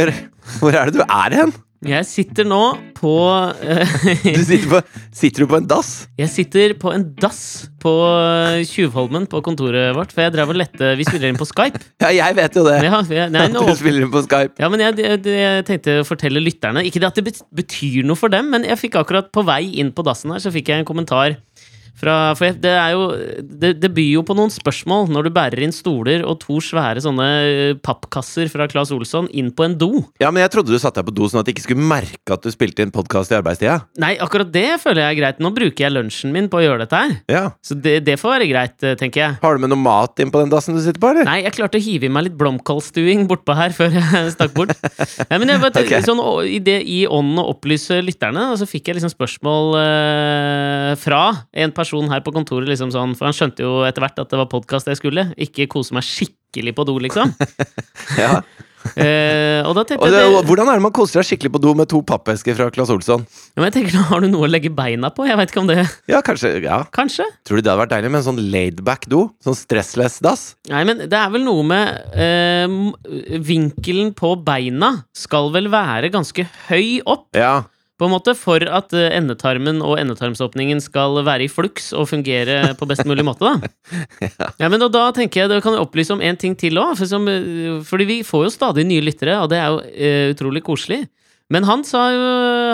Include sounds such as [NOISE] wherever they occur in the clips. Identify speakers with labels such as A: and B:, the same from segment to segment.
A: Hvor er det du er hen?
B: Jeg sitter nå på eh,
A: Du sitter, på, sitter du på en dass?
B: [LAUGHS] Jeg sitter på en dass på eh, Tjuvholmen på kontoret vårt, for jeg drev og lette Vi spiller inn på Skype.
A: Ja, jeg vet jo det.
B: Ja, for jeg, nei,
A: At
B: nå,
A: [LAUGHS] du spiller på Skype.
B: ja men jeg, jeg, jeg tenkte å fortelle lytterne Ikke det at det bet- betyr noe for dem, men jeg fikk akkurat på vei inn på dassen her, så fikk jeg en kommentar fra For jeg, det er jo det, det byr jo på noen spørsmål når du bærer inn stoler og to svære sånne eh, pappkasser fra Claes Olsson inn på en do.
A: Ja, men jeg trodde du satte deg på do sånn at de ikke skulle merke at du spilte inn podkast i arbeidstida.
B: Nei, akkurat det føler jeg er greit. Nå bruker jeg lunsjen min på å gjøre dette her.
A: Ja.
B: Så det, det får være greit, eh, tenker jeg.
A: Har du med noe mat inn på den dassen du sitter på, eller?
B: Nei, jeg klarte å hive i meg litt blomkålstuing bortpå her før jeg [LAUGHS] stakk bort. Nei, men jeg bare tenkte
A: Ok.
B: sånn, å- i, det, I ånden å opplyse lytterne, og så fikk jeg liksom spørsmål eh, fra en person her på kontoret, liksom sånn, for han skjønte jo etter hvert at det var podkast jeg skulle. Ikke kose meg skikkelig på do,
A: [LAUGHS]
B: liksom. [LAUGHS]
A: Ja.
B: Eh, og da
A: Og
B: tenkte
A: det,
B: jeg
A: og
B: det,
A: hvordan er det man koser seg skikkelig på do med to pappesker fra Claes Olsson?
B: ja, men jeg tenker, nå Har du noe å legge beina på? Jeg veit ikke om det
A: Ja, kanskje, ja.
B: Kanskje?
A: Tror du det hadde vært deilig med en sånn laidback do? Sånn stressless dass?
B: Nei, men det er vel noe med eh, m- Vinkelen på beina skal vel være ganske høy opp.
A: Ja.
B: på en måte for at eh, endetarmen og endetarmsåpningen skal være i fluks og fungere på best mulig måte, da. ja. men og da tenker jeg, da kan jeg opplyse om en ting til òg, for som, eh, fordi vi får jo stadig nye lyttere, og det er jo eh, utrolig koselig. Men han sa jo,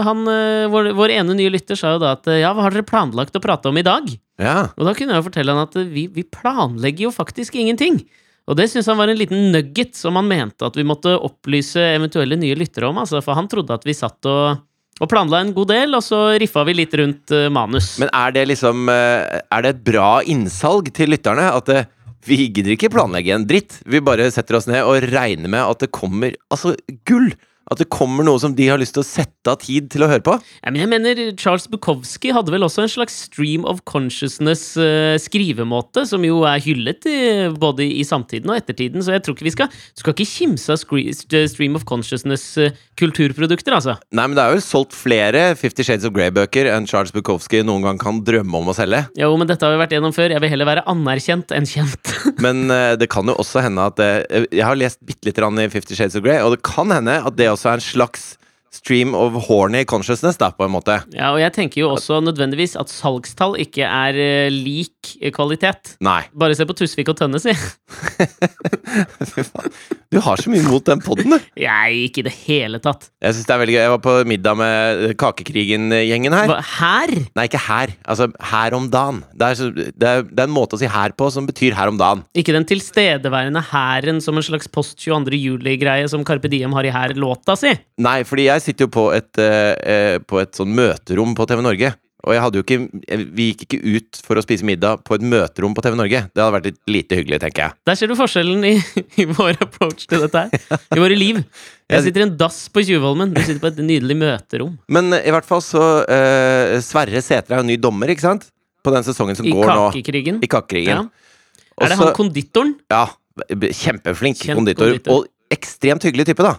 B: han, eh, vår, vår ene nye lytter sa jo da at eh, ja, hva har dere planlagt å prate om i dag?
A: Ja.
B: Og da kunne jeg jo fortelle han at eh, vi, vi planlegger jo faktisk ingenting. Og det syns han var en liten nugget som han mente at vi måtte opplyse eventuelle nye lyttere om. Altså, for han trodde at vi satt og, og planla en god del, og så riffa vi litt rundt eh, manus.
A: Men er det liksom eh, Er det et bra innsalg til lytterne? At eh, vi gidder ikke planlegge en dritt. Vi bare setter oss ned og regner med at det kommer Altså, gull! At det kommer noe som de har lyst til å sette av tid til å høre på.
B: Ja, men jeg mener Charles Bukowski hadde vel også en slags stream of consciousness-skrivemåte, som jo er hyllet i, både i samtiden og ettertiden, så jeg tror ikke vi skal, skal ikke kimse av scre- st- stream of consciousness-kulturprodukter, altså.
A: Nei, men det er jo solgt flere Fifty Shades of Grey-bøker enn Charles Bukowski noen gang kan drømme om å selge.
B: Jo, men dette har vi vært gjennom før. Jeg vil heller være anerkjent enn kjent. [LAUGHS]
A: Men eh, det kan jo også hende at eh, Jeg har lest bitte lite grann i Fifty Shades of Grey, og det kan hende at det også er en slags stream of horny consciousness, da, på en måte.
B: Ja, og jeg tenker jo også nødvendigvis at salgstall ikke er eh, lik kvalitet.
A: Nei. [LAUGHS]
B: Bare se på Tusvik og Tønne, si. [LAUGHS]
A: Fy faen. Du har så mye mot den podden, du.
B: Nei, ikke i det hele tatt.
A: Jeg synes det er veldig gøy. Jeg var på middag med eh, Kakekrigen-gjengen her.
B: Hva, her?
A: Nei, ikke her. Altså, her om dagen. Det er, så, det, er, det er en måte å si her på som betyr her om dagen.
B: Ikke den tilstedeværende hæren som en slags post 22. juli-greie som Carpe Diem har i hær-låta si.
A: Nei, fordi jeg sitter jo på et, eh, eh, på et sånn møterom på TV Norge. Og jeg hadde jo ikke, vi gikk ikke ut for å spise middag på et møterom på TV Norge. Det hadde vært litt lite hyggelig, tenker jeg.
B: Der ser du forskjellen i, [LAUGHS] i vår approach til dette her. I våre [LAUGHS] liv. Jeg sitter i en dass på Tjuvholmen. Du sitter på et nydelig møterom.
A: Men eh, i hvert fall så eh, Sverre Sætre er jo ny dommer, ikke sant? På den sesongen som
B: I
A: går nå.
B: kakekrigen.
A: I Kakekrigen.
B: Ja. Er det han konditoren?
A: Ja, b- kjempeflink
B: Kjent
A: konditor,
B: konditor.
A: Og ekstremt hyggelig type, da.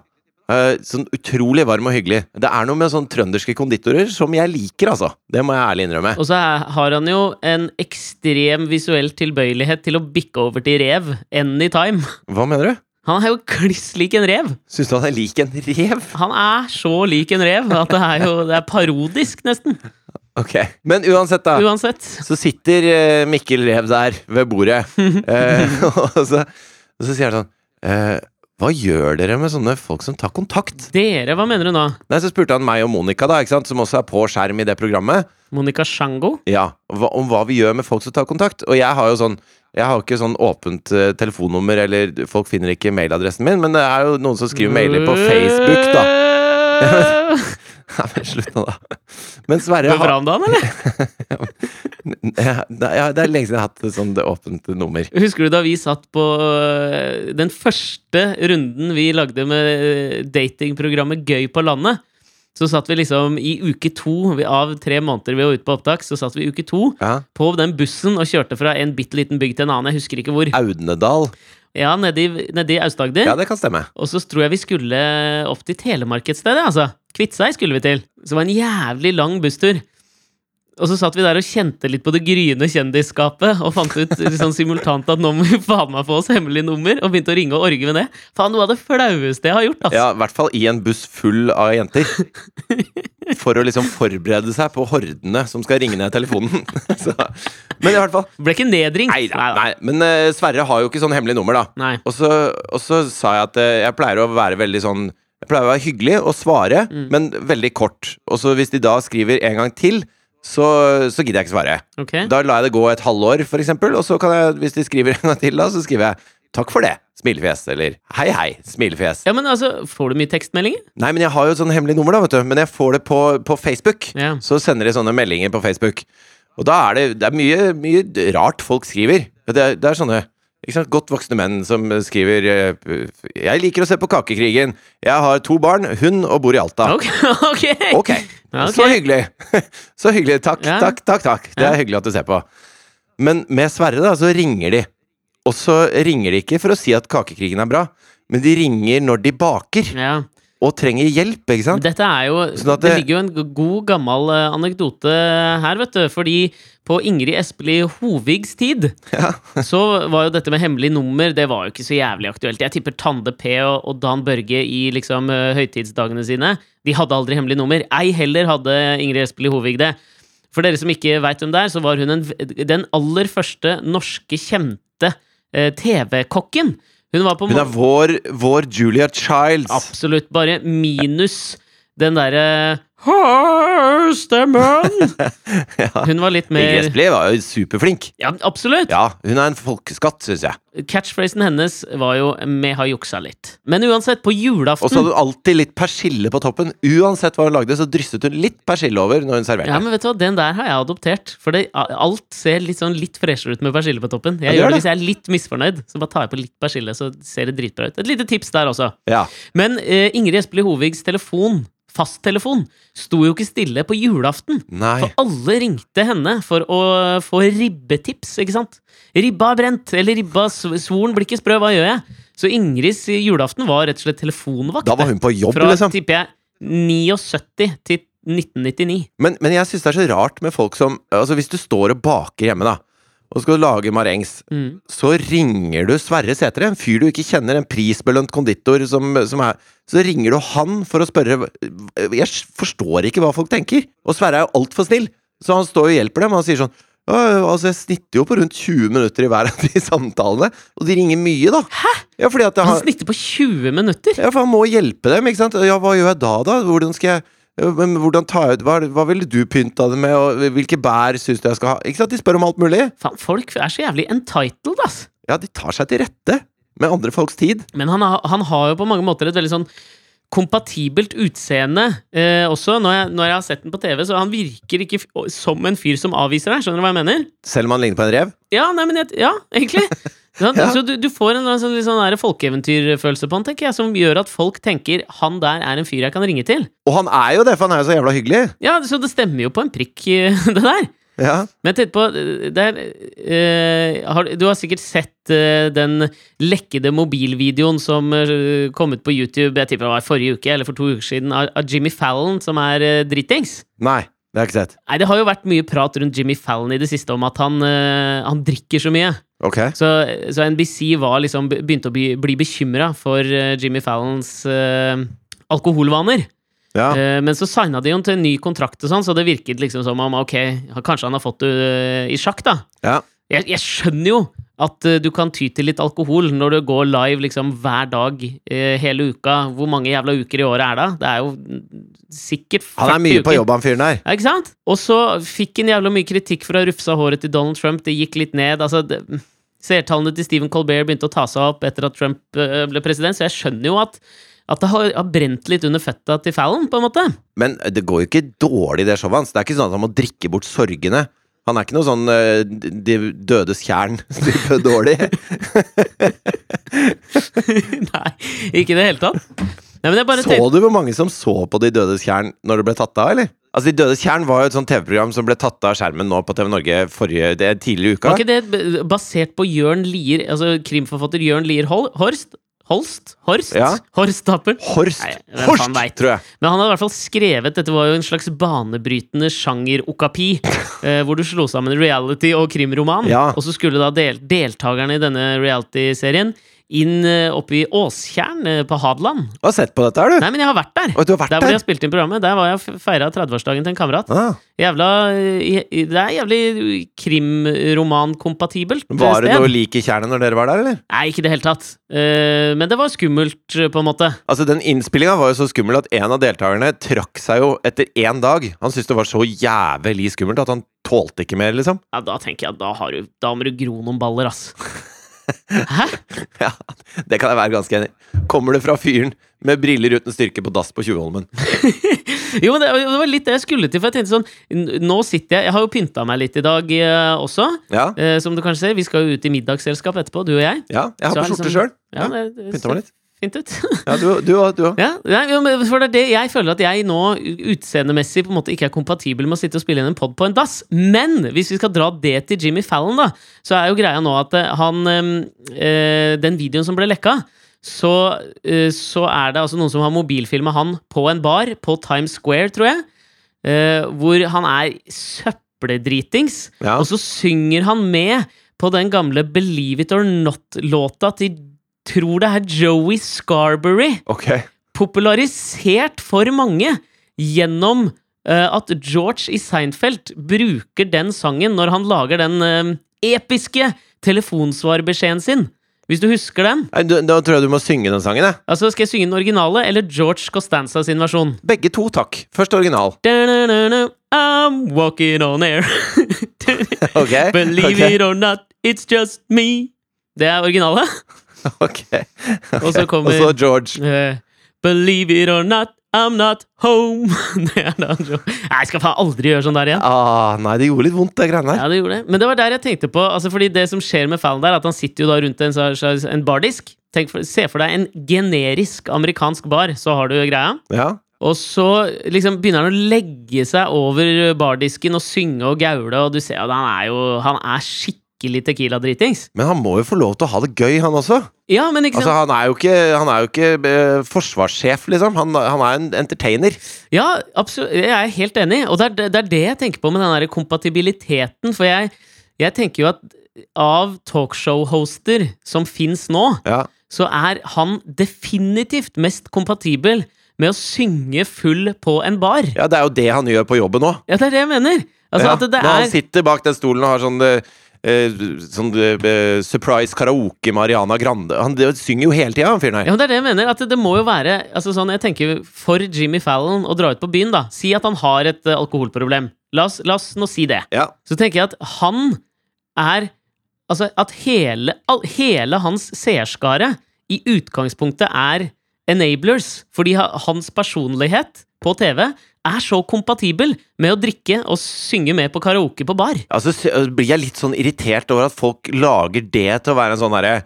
A: Eh, sånn utrolig varm og hyggelig. Det er noe med sånn trønderske konditorer som jeg liker, altså. Det må jeg ærlig innrømme.
B: Og så er- har han jo en ekstrem visuell tilbøyelighet til å bikke over til rev anytime.
A: Hva mener du?
B: Han er jo kliss lik en rev!
A: Syns du han er lik en rev?
B: Han er så lik en rev at det er jo det er parodisk, nesten.
A: Ok. Men uansett, da.
B: Uansett.
A: Så sitter eh, Mikkel Rev der ved bordet, eh, [LAUGHS] og, så, og så sier han sånn eh, Hva gjør dere med sånne folk som tar kontakt?
B: Dere, hva mener du nå?
A: Nei, Så spurte han meg og Monica, da, ikke sant, som også er på skjerm i det programmet.
B: Monica Sjango?
A: Ja, hva, om hva vi gjør med folk som tar kontakt. Og jeg har jo sånn jeg har jo ikke sånn åpent eh, telefonnummer, eller folk finner ikke mailadressen min, men det er jo noen som skriver mailer på Facebook, da.
B: da.
A: [LAUGHS] Nei, men slutt nå, da. Men Sverre
B: Det
A: har,
B: bra om dagen, eller?
A: [LAUGHS] ja, det er- ja, Det er lenge siden jeg har hatt et sånt åpent nummer.
B: Husker du da vi satt på øh, den første runden vi lagde med øh, datingprogrammet Gøy på landet? Så satt vi liksom i uke to vi- av tre måneder vi var ute på opptak, så satt vi i uke to
A: Ja.
B: på den bussen og kjørte fra en bitte liten bygd til en annen. Jeg husker ikke hvor.
A: Audnedal.
B: Ja, Nedi, nedi Aust-Agder.
A: Ja, det kan stemme.
B: Og så tror jeg vi skulle opp til Telemark et sted. ja, Altså. Kviteseid skulle vi til. Så det var en jævlig lang busstur. Og så satt vi der og kjente litt på det gryende kjendisskapet og fant ut sånn simultant at nå må vi [LAUGHS] faen meg få oss hemmelig nummer, og begynte å ringe og orge med det. Faen, noe av det flaueste jeg har gjort, altså.
A: Ja, i hvert fall i en buss full av [LAUGHS] jenter. For å liksom forberede seg på hordene som skal ringe ned telefonen. [LAUGHS] Så, men i hvert fall
B: Ble ikke nedringt.
A: Nei, nei,
B: Neida.
A: nei. men eh, Sverre har jo ikke sånn hemmelig nummer, da.
B: Nei.
A: Og så, og så sa jeg at eh, jeg pleier å være veldig sånn Jeg pleier å være hyggelig og svare, men veldig kort. Og så hvis de da skriver en gang til, så, så gidder jeg ikke svare.
B: Ok.
A: Da lar jeg det gå et halvår, for eksempel, og så kan jeg, hvis de skriver en gang til, da, så skriver jeg 'takk for det', smilefjes, eller 'hei, hei', smilefjes.
B: Ja, men altså, får du mye tekstmeldinger?
A: Nei, men jeg har jo et sånn hemmelig nummer, da, vet du. Men jeg får det på, på Facebook.
B: Ja.
A: Så sender de sånne meldinger på Facebook. Og da er det, det er mye, mye rart folk skriver. Det er, det er sånne ikke sant? godt voksne menn som skriver eh, 'Jeg liker å se på Kakekrigen'. 'Jeg har to barn, hund og bor i Alta'.
B: Ok! [LAUGHS]
A: [LAUGHS]
B: ok.
A: Ok,
B: Ja, ok.
A: så hyggelig. [LAUGHS] Så hyggelig. Takk,
B: Ja.
A: takk, takk. takk. Det er hyggelig at du ser på. Men med Sverre, da, så ringer de. Og så ringer de ikke for å si at Kakekrigen er bra, men de ringer når de baker
B: Ja.
A: og trenger hjelp, ikke sant?
B: Dette er jo
A: Sånn at
B: det,
A: det-
B: ligger jo en g- god, gammel eh, anekdote her, vet du. Fordi på Ingrid Espelid Hovigs tid
A: [LAUGHS]
B: så var jo dette med hemmelig nummer Det var jo ikke så jævlig aktuelt. Jeg tipper Tande P og, og Dan Børge i liksom eh, høytidsdagene sine. De hadde aldri hemmelig nummer. Ei heller hadde Ingrid Espelid Hovig det. For dere som ikke veit hvem det er, så var hun en, v- den aller første norske kjente eh, TV-kokken. Hun var på
A: Hun er vår, vår Julia Childs.
B: Absolutt. Bare minus den eh, derre «Hei, [LAUGHS] Stemmen! Hun var litt
A: Ingrid
B: mer
A: Espelid var jo superflink.
B: ja, Absolutt!
A: Ja, hun er en folkeskatt, syns jeg.
B: Catchphrasen hennes var jo 'me har juksa litt'. Men uansett, på
A: Og så
B: julaften
A: hadde hun alltid litt persille på toppen. Uansett hva hun lagde, så drysset hun litt persille over når hun serverte.
B: ja, men vet du hva, Den der har jeg adoptert. For det, alt ser litt sånn litt freshere ut med persille på toppen. Jeg
A: Ja, det
B: gjør
A: gjør
B: det Hvis jeg er litt misfornøyd, så bare tar jeg på litt persille, så ser det dritbra ut. Et lite tips der også.
A: Ja.
B: Men eh, Ingrid Espelid Hovigs telefon, fasttelefon, sto jo ikke stille på julaften.
A: Nei.
B: For alle ringte henne for å få ribbetips, ikke sant? Ribba er brent, eller ribba sv- svoren blir ikke sprø, hva gjør jeg? Så Ingrids julaften var rett og slett telefonvakt.
A: Da var hun på jobb,
B: Fra,
A: liksom.
B: tipper jeg, 79 til 1999.
A: Men, men jeg syns det er så rart med folk som Altså, hvis du står og baker hjemme, da, og skal lage marengs,
B: Mm.
A: så ringer du Sverre Sætre, en fyr du ikke kjenner, en prisbelønt konditor som, som er Så ringer du han for å spørre Jeg forstår ikke hva folk tenker. Og Sverre er jo altfor snill, så han står og hjelper dem. Og han sier sånn «Ja, altså Jeg snitter jo på rundt 20 minutter i hver av de samtalene, og de ringer mye, da. Hæ? Ja, fordi at
B: Han
A: han,
B: snitter på 20 minutter!
A: ja, for han må hjelpe dem, ikke sant? Ja, hva gjør jeg da, da? Hvordan skal jeg ja, men hvordan ta ut, hva, hva ville du pynta det med, og hvilke bær syns du jeg skal ha? Ikke sant, De spør om alt mulig.
B: Faen, folk er så jævlig entitled, ass!
A: Ja, de tar seg til rette med andre folks tid.
B: Men han, har- han har jo på mange måter et veldig sånn kompatibelt utseende eh, også. Når jeg, når jeg har sett den på TV, så han virker ikke f som en fyr som avviser deg. Skjønner du hva jeg mener?
A: Selv om han ligner på en rev?
B: Ja, nei, men jeg, ja, egentlig. Sant?
A: Ja.
B: Så du, du får en sånn, litt sånn der folkeeventyrfølelse på han, tenker jeg, som gjør at folk tenker han der er en fyr jeg kan ringe til.
A: Og han er jo det, for han er jo så jævla hyggelig.
B: Ja, Så det stemmer jo på en prikk, [LAUGHS] det der.
A: Ja,
B: Men jeg tenkte på eh, der, eh, har, Du har sikkert sett eh, den lekkede mobilvideoen som eh, kom ut på YouTube jeg tipper det var forrige uke eller for to uker siden, av, av Jimmy Fallon, som er eh, drittings.
A: Nei, det har jeg ikke sett.
B: Nei, Det har jo vært mye prat rundt Jimmy Fallon i det siste om at han, eh, han drikker så mye.
A: Ok.
B: Så, så NBC var liksom, begynte å bli, bli bekymra for eh, Jimmy Fallons eh, alkoholvaner.
A: Ja.
B: Eh, men så signa de jo til en ny kontrakt, og sånn, så det virket liksom som om ok, kanskje han har fått det eh, i sjakk. da.
A: ja.
B: Jeg, jeg skjønner jo at eh, du kan ty til litt alkohol når du går live liksom hver dag eh, hele uka. Hvor mange jævla uker i året er det? Det er jo mm, sikkert 40
A: Han er mye på
B: uker.
A: jobb, han fyren der.
B: Ja, ikke sant? Og så fikk han jævla mye kritikk for å ha rufsa håret til Donald Trump. Det gikk litt ned. altså... Det, Seertallene til Stephen Colbert begynte å ta seg opp etter at Trump eh, ble president, så jeg skjønner jo at, at det har, har brent litt under føtta til Fallon, på en måte. [LAUGHS]
A: Men det går jo ikke dårlig, det showet hans. Det er ikke sånn at han må drikke bort sorgene. Han er ikke noe sånn eh, De dødes [LAUGHS] kjern-type dårlig.
B: Nei, ikke i det hele tatt. Nei, men jeg bare
A: Så
B: tenkte,
A: du hvor mange som så på De dødes kjern når det ble tatt av, eller? Altså, De dødes kjern var jo et sånt TV-program som ble tatt av skjermen nå på TV Norge forrige, det er tidligere i uka.
B: Var ikke det b- basert på Jørn Lier, altså krimforfatter Jørn Lier Hol Horst? Holst? Horst?
A: Ja.
B: Horst Tappert?
A: Horst!
B: Nei, hvem
A: Horst,
B: faen vet?
A: tror jeg.
B: Men han hadde i hvert fall skrevet Dette var jo en slags banebrytende
A: [LAUGHS]
B: sjanger-okapi, eh, hvor du slo sammen reality og krimroman.
A: Ja.
B: Og så skulle da del deltakerne i denne reality-serien inn eh, oppe i Åstjern eh, på Hadeland.
A: Du har sett på dette, her, du?
B: Nei, men jeg har vært der!
A: Å, du har vært
B: Der hvor
A: der?
B: jeg spilte inn programmet, der var jeg feira 30-årsdagen til en kamerat.
A: Ah,
B: Jævla, eh, i- det er jævlig krimromankompatibelt eh,
A: var det
B: sted.
A: noe lik i tjernet når dere var der, eller?
B: Nei, ikke i det hele tatt. Eh, Men det var skummelt, eh, på en måte.
A: Altså, Den innspillinga var jo så skummel at en av deltakerne trakk seg jo etter én dag. Han syntes det var så jævlig skummelt at han tålte ikke mer, liksom. [LAUGHS]
B: Ja, da tenker jeg at da, har du, da må du gro noen baller, ass. Hæ?
A: Ja, Det kan jeg være ganske enig i. Kommer det fra fyren med briller uten styrke på dass på Tjuvholmen?
B: Jo, men det, det var litt det jeg skulle til, for jeg tenkte sånn n- Nå sitter jeg Jeg har jo pynta meg litt i dag eh, også,
A: Ja,
B: eh, som du kanskje ser. Vi skal jo ut i middagsselskap etterpå, du og jeg.
A: ja, jeg har på
B: Så er det
A: skjorte
B: sånn-
A: sjøl. Ja,
B: det, det
A: Pynta meg litt.
B: Fint ut. [LAUGHS]
A: Ja, du òg. Du, også, du, også.
B: ja, nei, jo, men for det er det jeg føler at jeg nå u- utseendemessig på en måte ikke er kompatibel med å sitte og spille inn en pod på en dass. Men hvis vi skal dra det til Jimmy Fallon, da, så er jo greia nå at eh, han eh, eh, Den videoen som ble lekka, så, eh, så er det altså noen som har mobilfilma han på en bar på Times Square, tror jeg, eh, hvor han er søppeldritings.
A: Ja.
B: Og så synger han med på den gamle Believe It Or Not-låta til Tror det er Joey Scarberry
A: Ok.
B: popularisert for mange gjennom eh, at George i Seinfeld bruker den sangen når han lager den eh, episke telefonsvarbeskjeden sin. Hvis du husker den.
A: Nei, du, da tror jeg du må synge den sangen, jeg.
B: Altså, Skal jeg synge den originale eller George Costanza sin versjon? [LAUGHS]
A: Begge to, takk. Først original.
B: Da-na-na-na, I'm walking on air. [LAUGHS]
A: Ok?
B: Believe
A: ok,
B: it or not, it's just me. Det er originale.
A: ok, ok.
B: Og så kommer-
A: Og så George.
B: Eh, Believe it or not, I'm not home. [LAUGHS] Det er da George. Nei, jeg skal faen aldri gjøre sånn der igjen.
A: Ah, nei, det gjorde litt vondt, det greiene der.
B: Ja, det gjorde det. Men det var der jeg tenkte på altså Fordi det som skjer med Fallon der, er at han sitter jo da rundt en, slags- slags- en bardisk. Tenk for, se for deg en generisk amerikansk bar, så har du greia.
A: Ja.
B: Og så liksom begynner han å legge seg over bardisken og synge og gaule, og du ser at han er jo Han er skikkelig Tequila-dritings.
A: Men han må jo få lov til å ha det gøy, han også.
B: Ja, men ikke sant?
A: Altså, han er jo ikke, han er jo ikke eh, forsvarssjef, liksom. Han, han er en entertainer.
B: Ja, absolutt. Jeg er helt enig. Og det er det, det er det jeg tenker på med den der kompatibiliteten. For jeg, jeg tenker jo at av talkshow-hoster som fins nå,
A: Ja.
B: så er han definitivt mest kompatibel med å synge full på en bar.
A: ja, det er jo det han gjør på jobben òg.
B: Ja, det er det jeg mener. Altså
A: ja.
B: at det
A: Når han
B: er
A: sitter bak den stolen og har sånn eh, eh, Sånn eh, surprise karaoke Mariana Grande Han det, synger jo hele tida, han fyren her.
B: ja, men det er det jeg mener, at det må jo være altså sånn, jeg tenker For Jimmy Fallon å dra ut på byen, da Si at han har et eh, alkoholproblem. La oss, la oss nå si det.
A: Ja.
B: Så tenker jeg at han er Altså at hele, all, hele hans seerskare i utgangspunktet er enablers. Fordi ha- hans personlighet på TV er så kompatibel med å drikke og synge med på karaoke på bar.
A: Altså, sy- øh, blir jeg litt sånn irritert over at folk lager det til å være en sånn herre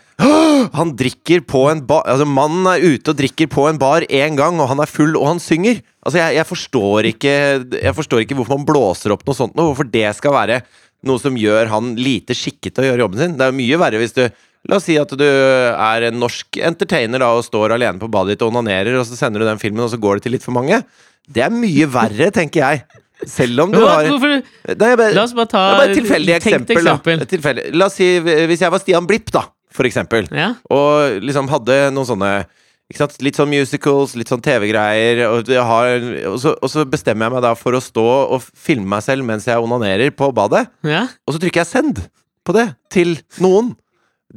A: Han drikker på en bar Altså, mannen er ute og drikker på en bar én gang, og han er full, og han synger. Altså, jeg, jeg, forstår ikke, jeg forstår ikke hvorfor man blåser opp noe sånt nå. Hvorfor det skal være noe som gjør han lite skikket til å gjøre jobben sin. Det er jo mye verre hvis du La oss si at du er en norsk entertainer da, og står alene på badet ditt og onanerer, og så sender du den filmen, og så går det til litt for mange. Det er mye verre, tenker jeg. Selv om du
B: Hva-
A: har
B: hvorfor-
A: Nei, jeg bare,
B: La oss bare ta
A: det er bare et tilfeldig
B: et tenkt
A: eksempel. Da. Et tilfeldig. La oss si eh, hvis jeg var Stian Blipp, da, for eksempel,
B: Ja.
A: og liksom hadde noen sånne ikke sant? Litt sånn musicals, litt sånn TV-greier, og, det har- og, så- og så bestemmer jeg meg da for å stå og filme meg selv mens jeg onanerer på badet,
B: ja.
A: og så trykker jeg 'send' på det til noen.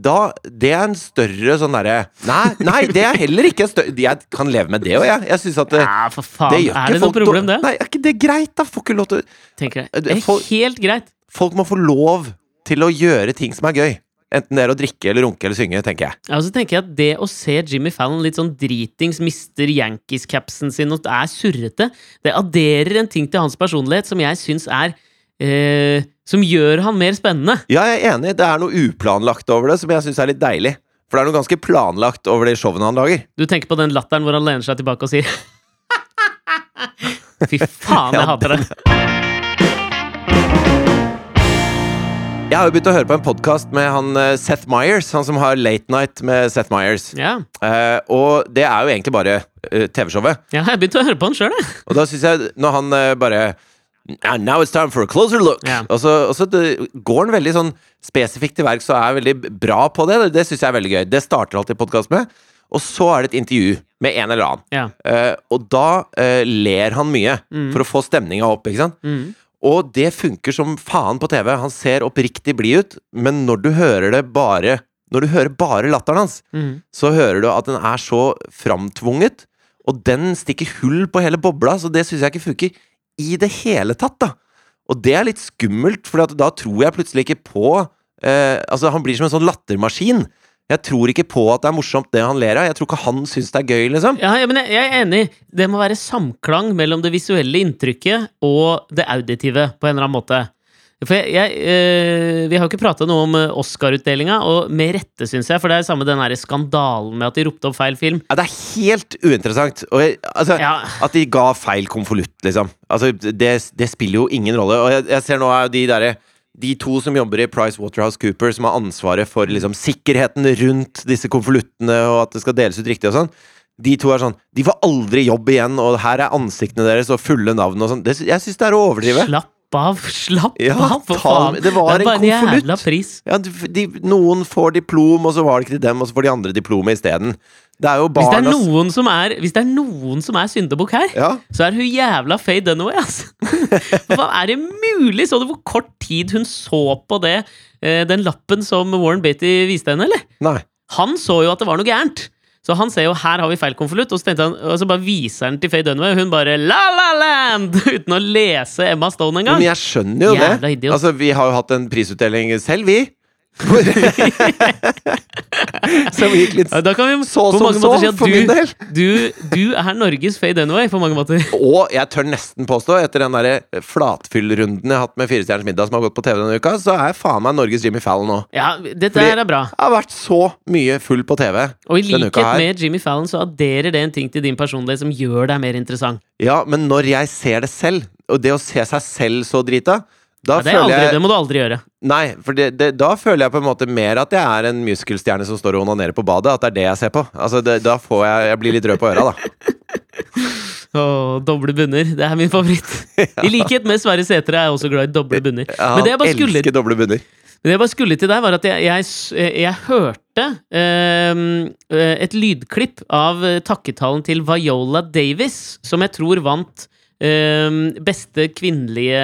A: Da, Det er en større sånn derre Nei, nei, det er heller ikke en større Jeg kan leve med det òg, jeg. Jeg synes at det,
B: ja, Ah, for faen.
A: det gjør ikke
B: er det noe
A: folk dår-
B: problem, det?
A: Nei, er ikke det greit, da? Får ikke lov til
B: Tenker jeg.
A: Eh,
B: Det er
A: folk-
B: helt greit.
A: Folk må få lov til å gjøre ting som er gøy. Enten det er å drikke eller runke eller synge, tenker jeg.
B: Ja, og så tenker jeg at Det å se Jimmy Fallon litt sånn dritings, mister Yankees-capsen sin og er surrete, det adderer en ting til hans personlighet som jeg syns er eh, Som gjør han mer spennende.
A: Ja, jeg er enig. Det er noe uplanlagt over det som jeg syns er litt deilig. For det er noe ganske planlagt over de showene han lager.
B: Du tenker på den latteren hvor han lener seg tilbake og sier [LAUGHS] Fy faen, jeg
A: Ja,
B: hater det.
A: Jeg har jo begynt å høre på en podkast med han eh, Seth Meyers, han som har Late Night med Seth Meyers.
B: Ja.
A: Eh, og det er jo egentlig bare eh, TV-showet.
B: ja, jeg begynte å høre på han sjøl, jeg.
A: Og da syns jeg, når han eh, bare And now it's time for a closer look.
B: Ja.
A: Og så, og så det, går han veldig sånn spesifikt til verks og er veldig bra på det. Det syns jeg er veldig gøy. Det starter alltid podkast med. Og så er det et intervju med en eller annen.
B: Ja.
A: Eh, og da eh, ler han mye for å få stemninga opp. ikke sant?
B: Mm.
A: Og det funker som faen på TV. Han ser oppriktig blid ut, men når du hører det bare Når du hører bare latteren hans,
B: Mm.
A: så hører du at den er så framtvunget, og den stikker hull på hele bobla, så det syns jeg ikke funker i det hele tatt, da. Og det er litt skummelt, for da tror jeg plutselig ikke på eh, Altså, han blir som en sånn lattermaskin. Jeg tror ikke på at det er morsomt, det han ler av. Jeg tror ikke han syns det er gøy, liksom.
B: Ja, ja, men jeg, jeg er enig. Det må være samklang mellom det visuelle inntrykket og det auditive, på en eller annen måte. For jeg, jeg, eh, vi har jo ikke prata noe om eh, Oscar-utdelinga, og med rette, syns jeg. For det er samme den der skandalen med at de ropte opp feil film.
A: Ja, det er helt uinteressant. Og jeg, altså,
B: Ja.
A: At de ga feil konvolutt, liksom. Altså, det, det spiller jo ingen rolle. Og jeg, jeg ser nå er jo de derre de to som jobber i PricewaterhouseCooper, som har ansvaret for liksom, sikkerheten rundt disse konvoluttene, og at det skal deles ut riktig og sånn, de to er sånn De får aldri jobb igjen, og her er ansiktene deres og fulle navn og sånn. Det sy- Jeg syns det er å overdrive.
B: Slapp av, [LAUGHS] slapp
A: Ja,
B: av, for
A: ta-
B: faen!
A: det var
B: er
A: en
B: bare
A: konvolutt.
B: jævla pris.
A: Ja, de, de, noen får diplom, og så var det ikke til dem, og så får de andre diplomet isteden. Det er jo
B: Hvis det, er
A: barnas
B: noen som er, hvis det er noen som er syndebukk her,
A: Ja.
B: så er hun jævla Faye Dunaway, altså.
A: [LAUGHS]
B: Hva er det mulig? Så du hvor kort tid hun så på det, eh, den lappen som Warren Beatty viste henne, eller?
A: Nei.
B: Han så jo at det var noe gærent. Så han ser jo her har vi feil konvolutt, og så tenkte han, og så bare viser han til Faye Dunaway, og hun bare La La Land! [LAUGHS] Uten å lese Emma Stone
A: Men
B: engang.
A: jeg skjønner jo
B: Jævla
A: det.
B: idiot.
A: Altså, vi har jo hatt en prisutdeling selv, vi.
B: [LAUGHS]
A: Som gikk litt
B: Ja, Da kan vi
A: Så
B: på
A: som
B: mange
A: så,
B: måter si at
A: for min del.
B: du, [LAUGHS] du, du er Norges Faye Dunaway, på mange måter.
A: Og jeg tør nesten påstå, etter den der flatfyllrunden jeg har hatt med Firestjerners middag, som har gått på TV denne uka, så er faen meg Norges Jimmy Fallon nå.
B: Ja, dette
A: Fordi-
B: her er bra.
A: Jeg har vært så mye full på TV
B: Og i
A: denne uka
B: likhet
A: her.
B: med Jimmy Fallon så adderer det en ting til din personlighet som gjør deg mer interessant.
A: Ja, men når jeg ser det selv, og det å se seg selv så drita, da
B: Ja, det, er
A: føler
B: aldri,
A: jeg
B: det må du aldri gjøre.
A: Nei, for det, det, da føler jeg på en måte mer at jeg er en muskelstjerne som står og onanerer på badet. At det er det jeg ser på. Altså, det, Da får jeg Jeg blir litt rød på øra, da.
B: Åh, doble bunner. Det er min favoritt.
A: [LAUGHS]
B: I likhet med Sverre Sætre er jeg også glad i doble bunner. [LAUGHS] Men det jeg bare skulle,
A: elsker doble bunner.
B: men det jeg bare skulle til deg, var at jeg, jeg, s- eh, jeg hørte ehm, eh, et lydklipp av eh, takketalen til Viola Davis, som jeg tror vant ehm, beste kvinnelige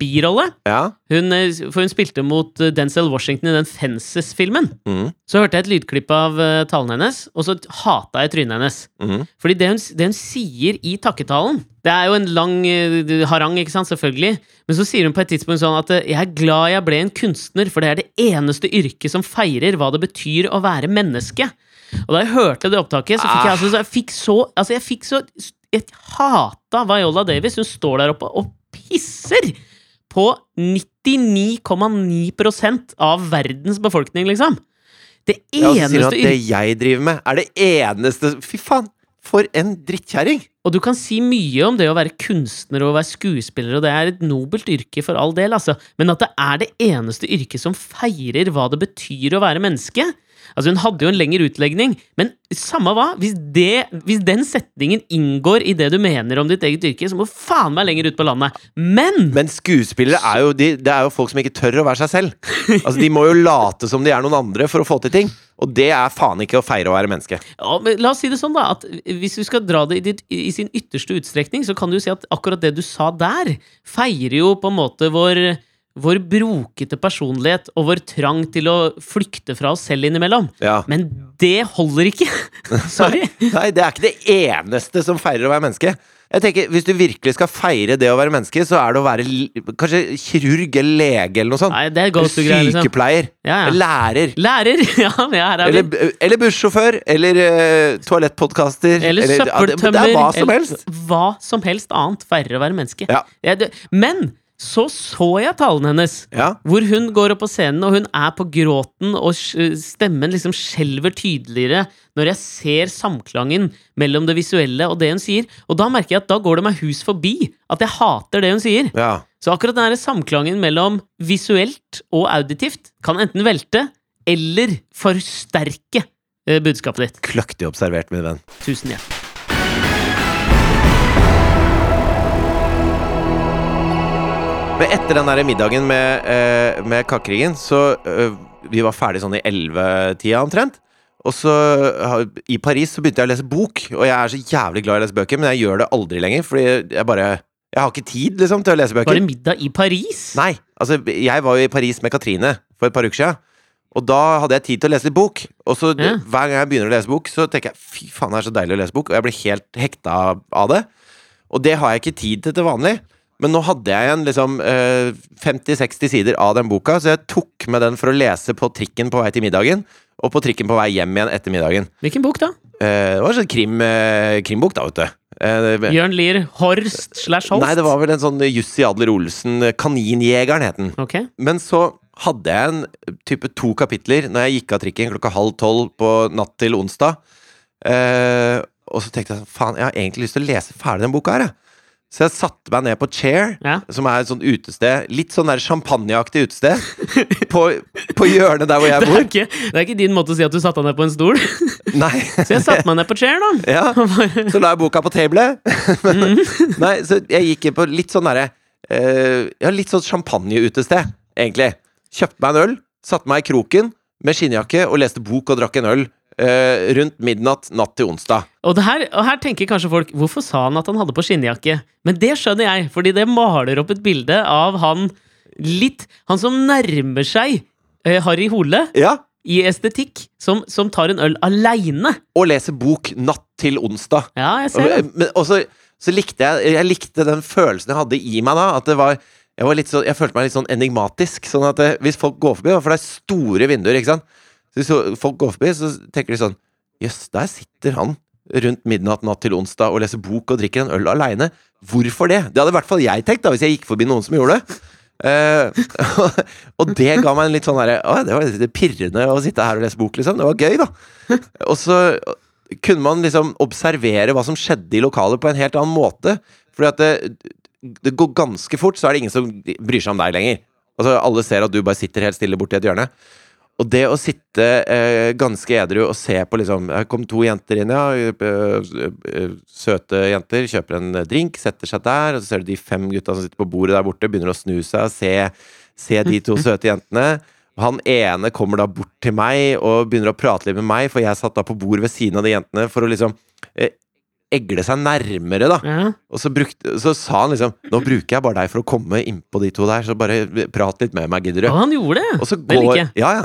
B: birolle.
A: Ja.
B: Hun, eh, for hun spilte mot eh, Denzel Washington i den Fences-filmen.
A: Mm,
B: Så hørte jeg et lydklipp av eh, talen hennes, og så hata jeg trynet hennes.
A: mm.
B: Fordi det hun, det hun sier i takketalen Det er jo en lang eh, harang, ikke sant, selvfølgelig. Men så sier hun på et tidspunkt sånn at eh, 'Jeg er glad jeg ble en kunstner, for det er det eneste yrket som feirer hva det betyr å være menneske'. Og da jeg hørte det opptaket, så
A: Ah.
B: fikk jeg altså så Jeg fikk så Altså, jeg fikk så Jeg hata Viola Davis. Hun står der oppe og pisser på 99,9 av verdens befolkning, liksom. Det
A: Ja, og så sier hun
B: eneste
A: at
B: yrket
A: det jeg driver med, er det eneste Fy faen! For en drittkjerring!
B: Og du kan si mye om det å være kunstner og å være skuespiller, og det er et nobelt yrke for all del, altså, men at det er det eneste yrket som feirer hva det betyr å være menneske Altså, hun hadde jo en lengre utlegning, men samme hva, hvis, det, hvis den setningen inngår i det du mener om ditt eget yrke, så må du faen meg lenger ut på landet. Men!
A: Men skuespillere er jo de, Det er jo folk som ikke tør å være seg selv. Altså, De må jo late som de er noen andre for å få til ting. Og det er faen ikke å feire å være menneske.
B: Ja, men la oss si det sånn, da. At hvis du skal dra det i, ditt, i sin ytterste utstrekning, så kan du jo si at akkurat det du sa der, feirer jo på en måte vår, vår brokete personlighet og vår trang til å flykte fra oss selv innimellom.
A: Ja.
B: Men det holder ikke! [LAUGHS] Sorry.
A: Nei, det er ikke det eneste som feirer å være menneske. Jeg tenker, Hvis du virkelig skal feire det å være menneske, så er det å være li- kanskje kirurg eller lege eller noe sånt.
B: Nei, det er
A: Eller
B: go-to-greier, liksom.
A: Sykepleier.
B: Ja, ja.
A: Lærer.
B: Lærer! [LAUGHS] Ja, men ja, her er vi.
A: Eller, eller bussjåfør. Eller eh, toalettpodkaster.
B: Eller
A: ja, det-
B: søppeltømmer.
A: Det er hva som
B: eller
A: helst.
B: Hva som helst annet feirer å være menneske.
A: Ja.
B: Jeg- det- Men så så jeg talen hennes.
A: Ja.
B: Hvor hun går opp på scenen, og hun er på gråten, og sj- stemmen liksom skjelver tydeligere når jeg ser samklangen mellom det visuelle og det hun sier. Og da merker jeg at da går det meg hus forbi at jeg hater det hun sier.
A: ja.
B: Så akkurat denne samklangen mellom visuelt og auditivt kan enten velte eller forsterke eh, budskapet ditt.
A: Kløktig observert, min venn.
B: Tusen hjertelig.
A: Men etter den der middagen med, eh, med kakeringen, så eh, Vi var ferdig sånn i 11-tida omtrent. Og så har- I Paris så begynte jeg å lese bok, og jeg er så jævlig glad i å lese bøker, men jeg gjør det aldri lenger, fordi jeg bare Jeg har ikke tid, liksom, til å lese bøker.
B: Var det middag i Paris?
A: Nei, altså jeg var jo i Paris med Katrine for et par uker siden. Og da hadde jeg tid til å lese litt bok. Og så
B: Ja.
A: hver gang jeg begynner å lese bok, så tenker jeg fy faen, det er så deilig å lese bok. Og jeg blir helt hekta av det. Og det har jeg ikke tid til til vanlig. Men nå hadde jeg igjen liksom eh, 50-60 sider av den boka, så jeg tok med den for å lese på trikken på vei til middagen. Og på trikken på vei hjem igjen etter middagen.
B: Hvilken bok, da?
A: Eh, det var en sånn krim, eh, krimbok, da, vet du. Eh, det-
B: Jørn Lier Horst slash Holst?
A: nei, det var vel en sånn Jussi Adler Olsen, eh, 'Kaninjegeren', het den.
B: Ok.
A: Men så hadde jeg en type to kapitler når jeg gikk av trikken klokka halv tolv på natt til onsdag. Eh, og så tenkte jeg sånn, faen, jeg har egentlig lyst til å lese ferdig den boka her. Jeg. Så jeg satte meg ned på Chair,
B: Ja. [LAUGHS]
A: som er et sånt utested, litt sånn der champagneaktig utested, på, på hjørnet der hvor
B: [LAUGHS]
A: jeg
B: Det er,
A: bor.
B: ikke, det er ikke din måte å si at du satte deg ned på en stol.
A: Nei.
B: Så jeg satte meg ned på chair, da.
A: Ja, så la jeg boka på tablet. [LAUGHS] Nei, så jeg gikk inn på litt sånn derre eh, Ja, litt sånn champagneutested, egentlig. Kjøpte meg en øl, satte meg i kroken med skinnjakke og leste bok og drakk en øl eh, rundt midnatt natt til onsdag.
B: Og, det her, og her tenker kanskje folk Hvorfor sa han at han hadde på skinnjakke? Men det skjønner jeg, fordi det maler opp et bilde av han litt Han som nærmer seg eh, Harry Hole
A: Ja,
B: i estetikk, som, som tar en øl aleine.
A: Og lese bok natt til onsdag.
B: Ja, jeg ser det.
A: Og, men, og så, så likte jeg Jeg likte den følelsen jeg hadde i meg da, at det var jeg, var litt sånn- jeg følte meg litt sånn enigmatisk. Sånn at det, Hvis folk går forbi, da, for det er store vinduer ikke sant? Så Hvis så- folk går forbi, så tenker de sånn Jøss, der sitter han rundt midnatt natt til onsdag og leser bok og drikker en øl aleine. Hvorfor det? Det hadde i hvert fall jeg tenkt da, hvis jeg gikk forbi noen som gjorde det. Eh, [LAUGHS] og det ga meg en litt sånn derre «Å, Det var litt pirrende å sitte her og lese bok, liksom. Det var gøy, da. Og så kunne man liksom observere hva som skjedde i lokalet på en helt annen måte. Fordi at det, det går ganske fort, så er det ingen som bryr seg om deg lenger. Altså, alle ser at du bare sitter helt stille borti et hjørne. Og det å sitte eh, ganske edru og se på liksom Her kom to jenter inn, ja. øh, øh, Søte jenter. Kjøper en drink, setter seg der. Og så ser du de fem gutta som sitter på bordet der borte, begynner å snu seg og se, se de to søte jentene. Og Han ene kommer da bort til meg og begynner å prate litt med meg, for jeg satt da på bord ved siden av de jentene for å liksom eh, egle seg nærmere, da.
B: Ja.
A: Og så, brukte, så sa han liksom Nå bruker jeg bare deg for å komme innpå de to der, så bare eh, prat litt med meg, gidder du?
B: Og han gjorde det!
A: Og så
B: Det
A: går
B: liker
A: Ja, ja.
B: jeg.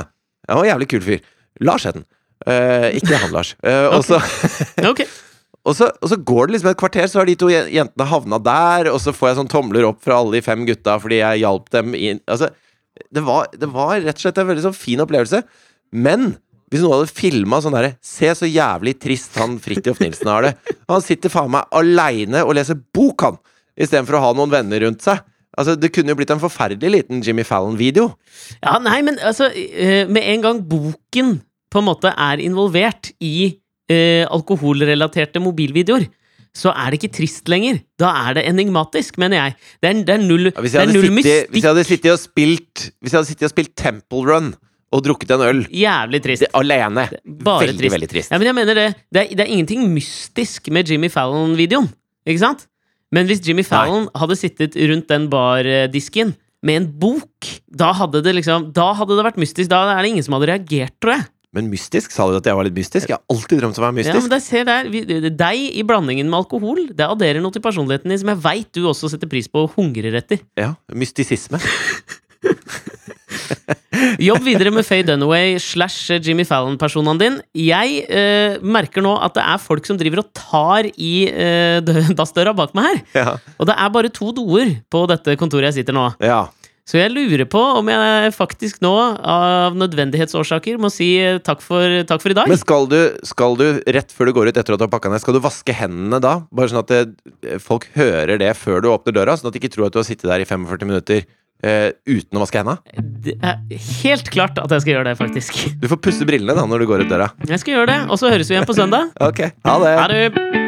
A: Han var en jævlig kul fyr. Lars het han. Eh, ikke han, Lars. Eh, og, så,
B: [LAUGHS] Ok.
A: og, så, og så går det liksom et kvarter, så har de to je- jentene havna der, og så får jeg sånn tomler opp fra alle de fem gutta fordi jeg hjalp dem inn Altså, det var, det var rett og slett en veldig sånn fin opplevelse. Men hvis noen hadde filma sånn derre Se så jævlig trist han Fridtjof Nilsen har det. Han sitter faen meg aleine og leser bok, han, istedenfor å ha noen venner rundt seg. Altså, Det kunne jo blitt en forferdelig liten Jimmy Fallon-video.
B: Ja, nei, men altså eh, Med en gang boken på en måte er involvert i eh, alkoholrelaterte mobilvideoer, så er det ikke trist lenger. Da er det enigmatisk, mener jeg. Det er, det er null,
A: Ja, hvis, jeg
B: det er
A: hadde
B: null
A: sittet, hvis
B: mystikk.
A: jeg hadde sittet og spilt Hvis jeg hadde sittet og spilt Temple Run og drukket en øl
B: Jævlig trist.
A: det, alene
B: Bare
A: Veldig,
B: trist.
A: veldig trist.
B: Ja, men jeg mener det. Det er, det er ingenting mystisk med Jimmy Fallon-videoen. Ikke sant? Men hvis Jimmy Fallon hadde sittet rundt den bardisken med en bok, da hadde det liksom Da hadde det vært mystisk. Da er det ingen som hadde reagert, tror jeg.
A: Men mystisk? Sa du at jeg var litt mystisk? Jeg har alltid drømt om å være
B: Ja, men
A: mystisk.
B: der, se der, vi, det- deg i blandingen med alkohol, det adderer noe til personligheten din som jeg veit du også setter pris på og hungrer etter.
A: Ja, Mystisisme. [LAUGHS]
B: Jobb videre med Faye Dunaway slash eh, Jimmy Fallon-personene din. Jeg eh, merker nå at det er folk som driver og tar i eh, dø- [LAUGHS] dassdøra bak meg her.
A: Ja.
B: Og det er bare to doer på dette kontoret jeg sitter nå.
A: ja.
B: Så jeg lurer på om jeg faktisk nå, av nødvendighetsårsaker, må si eh, takk for, takk for i dag.
A: Men skal du, skal du, rett før du går ut etter at du har pakka ned, skal du vaske hendene da? Bare sånn at det, folk hører det før du åpner døra, sånn at de ikke tror at du har sittet der i 45 minutter eh, uten å vaske hendene?
B: Det er helt klart at jeg skal gjøre det, faktisk.
A: Du får pusse brillene da når du går ut døra.
B: Jeg skal gjøre det, og så høres vi igjen på søndag.
A: Ok, ha det!
B: Ha det!